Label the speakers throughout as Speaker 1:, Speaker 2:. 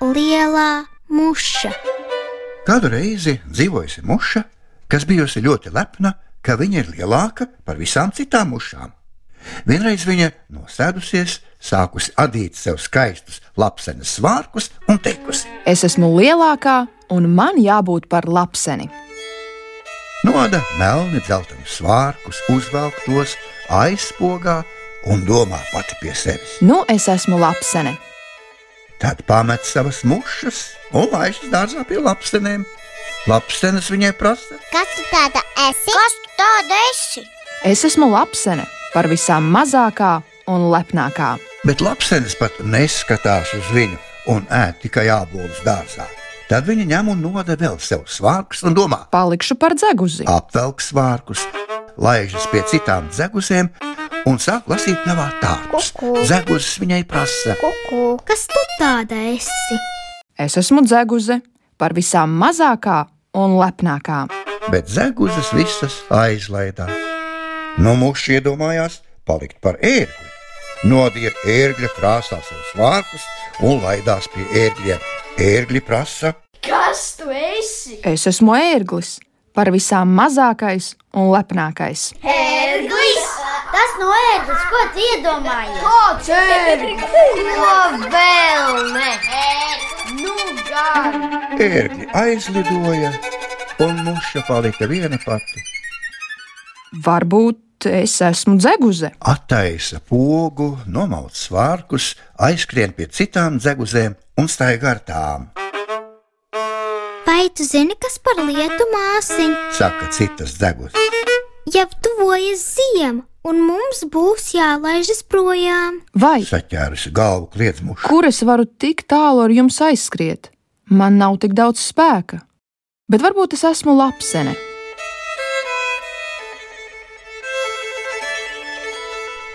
Speaker 1: lielā muša.
Speaker 2: Kādu reizi dzīvojusi muša, kas bijusi ļoti lepna, ka viņa ir lielāka par visām citām mušām. Vienreiz viņa nosēdusies, sākusi adīt sev skaistus lapsenes svārkus un teikusi:
Speaker 3: Es esmu lielākā, un man jābūt par lapseni.
Speaker 2: Noda melni dzeltenus svārkus, uzvelk tos, aizpogā un domā pati pie sevis.
Speaker 3: Nu, es esmu lapsene.
Speaker 2: Tad pamet savas mušas un laišas dārzā pie lapsenēm. Lapsenes viņai prasa,
Speaker 4: Kas tu tāda esi?
Speaker 1: Kas tu tāda esi?
Speaker 3: Es esmu lapsene, par visām mazākā un lepnākā.
Speaker 2: bet lapsenes pat neskatās uz viņu un ēd tikai abolus dārzā. Tad viņa ņem un noda vēl sev svārkus un domā,
Speaker 3: Palikšu par dzeguzi.
Speaker 2: apvelk svārkus, laižas pie citām dzegusēm un sāk lasīt navā tārpus.
Speaker 4: Kuku.
Speaker 2: Zeguzes viņai prasa,
Speaker 4: Kuku.
Speaker 1: Kas tu tāda esi?
Speaker 3: Es esmu dzeguze, par visām mazākā un lepnākā.
Speaker 2: bet zeguzes visas aizlaidās. Nu, muši iedomājās palikt par ērgli. Nodīja ērgļa krāsā sev svārkus un laidās pie ērgļiem. Ērgļi prasa,
Speaker 5: Kas tu esi?
Speaker 3: Es esmu ērglis, par visām mazākais un lepnākais.
Speaker 4: Erglis! Tas no ērglis, ko tu iedomājies?
Speaker 5: Kāds ir? Ko vēl ne? Nu, gan!
Speaker 2: ērgļi aizlidoja, un muša palika viena pati.
Speaker 3: Varbūt es esmu dzeguze.
Speaker 2: Attaisa pogu, nomaut svārkus, aizskrien pie citām dzeguzēm un staigā ar tām.
Speaker 1: Vai tu zini, kas par lietu māsiņu?
Speaker 2: saka citas deguns.
Speaker 1: Jau tuvojas ziema, un mums būs jālaižas projām.
Speaker 3: Vai
Speaker 2: Saķērusi galvu kliedzmušu.
Speaker 3: kur es varu tik tālu ar jums aizskriet? Man nav tik daudz spēka. Bet varbūt es esmu lapsene.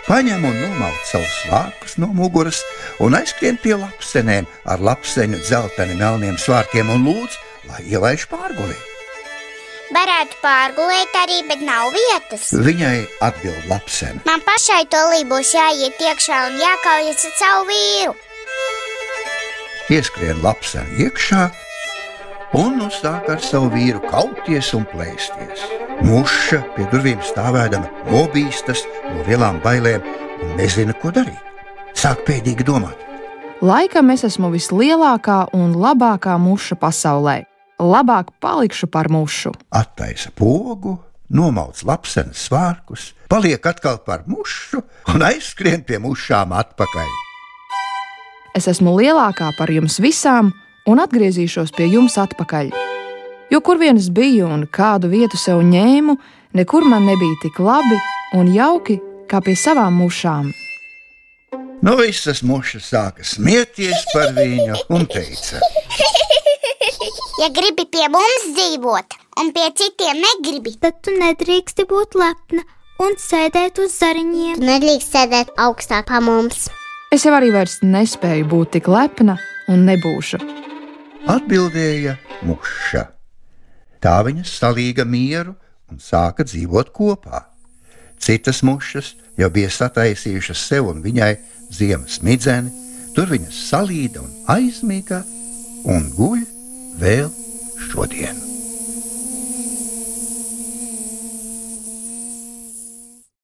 Speaker 2: Paņem un nomaut savus svārkus no muguras un aizskrien pie lapsenēm ar lapseņu dzelteni melniem svārkiem un lūdz, lai ielaiž pārgulī.
Speaker 4: Varētu pārgulēt arī, bet nav vietas.
Speaker 2: Viņai atbild lapsena.
Speaker 4: Man pašai to lībūs jāiet iekšā un jākaujas ar savu vīru.
Speaker 2: Ieskrien lapsena iekšā un uzsāk ar savu vīru kauties un plēsties. Muša pie durvīm stāvēdama nobīstas no lielām bailēm un nezina, ko darīt. Sāk pēdīgi domāt.
Speaker 3: Laikam es esmu vislielākā un labākā muša pasaulē. Labāk palikšu par mušu.
Speaker 2: attaisa pogu, nomauc lapsenes svārkus, paliek atkal par mušu un aizskrien pie mušām atpakaļ.
Speaker 3: Es esmu lielākā par jums visām un atgriezīšos pie jums atpakaļ. Jo kur vien es biju un kādu vietu sev ņēmu, nekur man nebija tik labi un jauki kā pie savām mušām.
Speaker 2: Nu, visas mušas sāka smieties par viņu un teica,
Speaker 4: Ja gribi pie mums dzīvot, un pie citiem negribi,
Speaker 1: Tad tu nedrīksti būt lepna un sēdēt uz zariņiem.
Speaker 4: tad nedrīkst sēdēt augstāk par mums.
Speaker 3: Es jau arī vairs nespēju būt tik lepna un nebūšu.
Speaker 2: atbildēja muša. Tā viņa salīga mieru un sāka dzīvot kopā. Citas mušas jau bija sataisījušas sev un viņai ziemas midzeni, tur viņas salīda un aizmīga un guļ vēl šodien.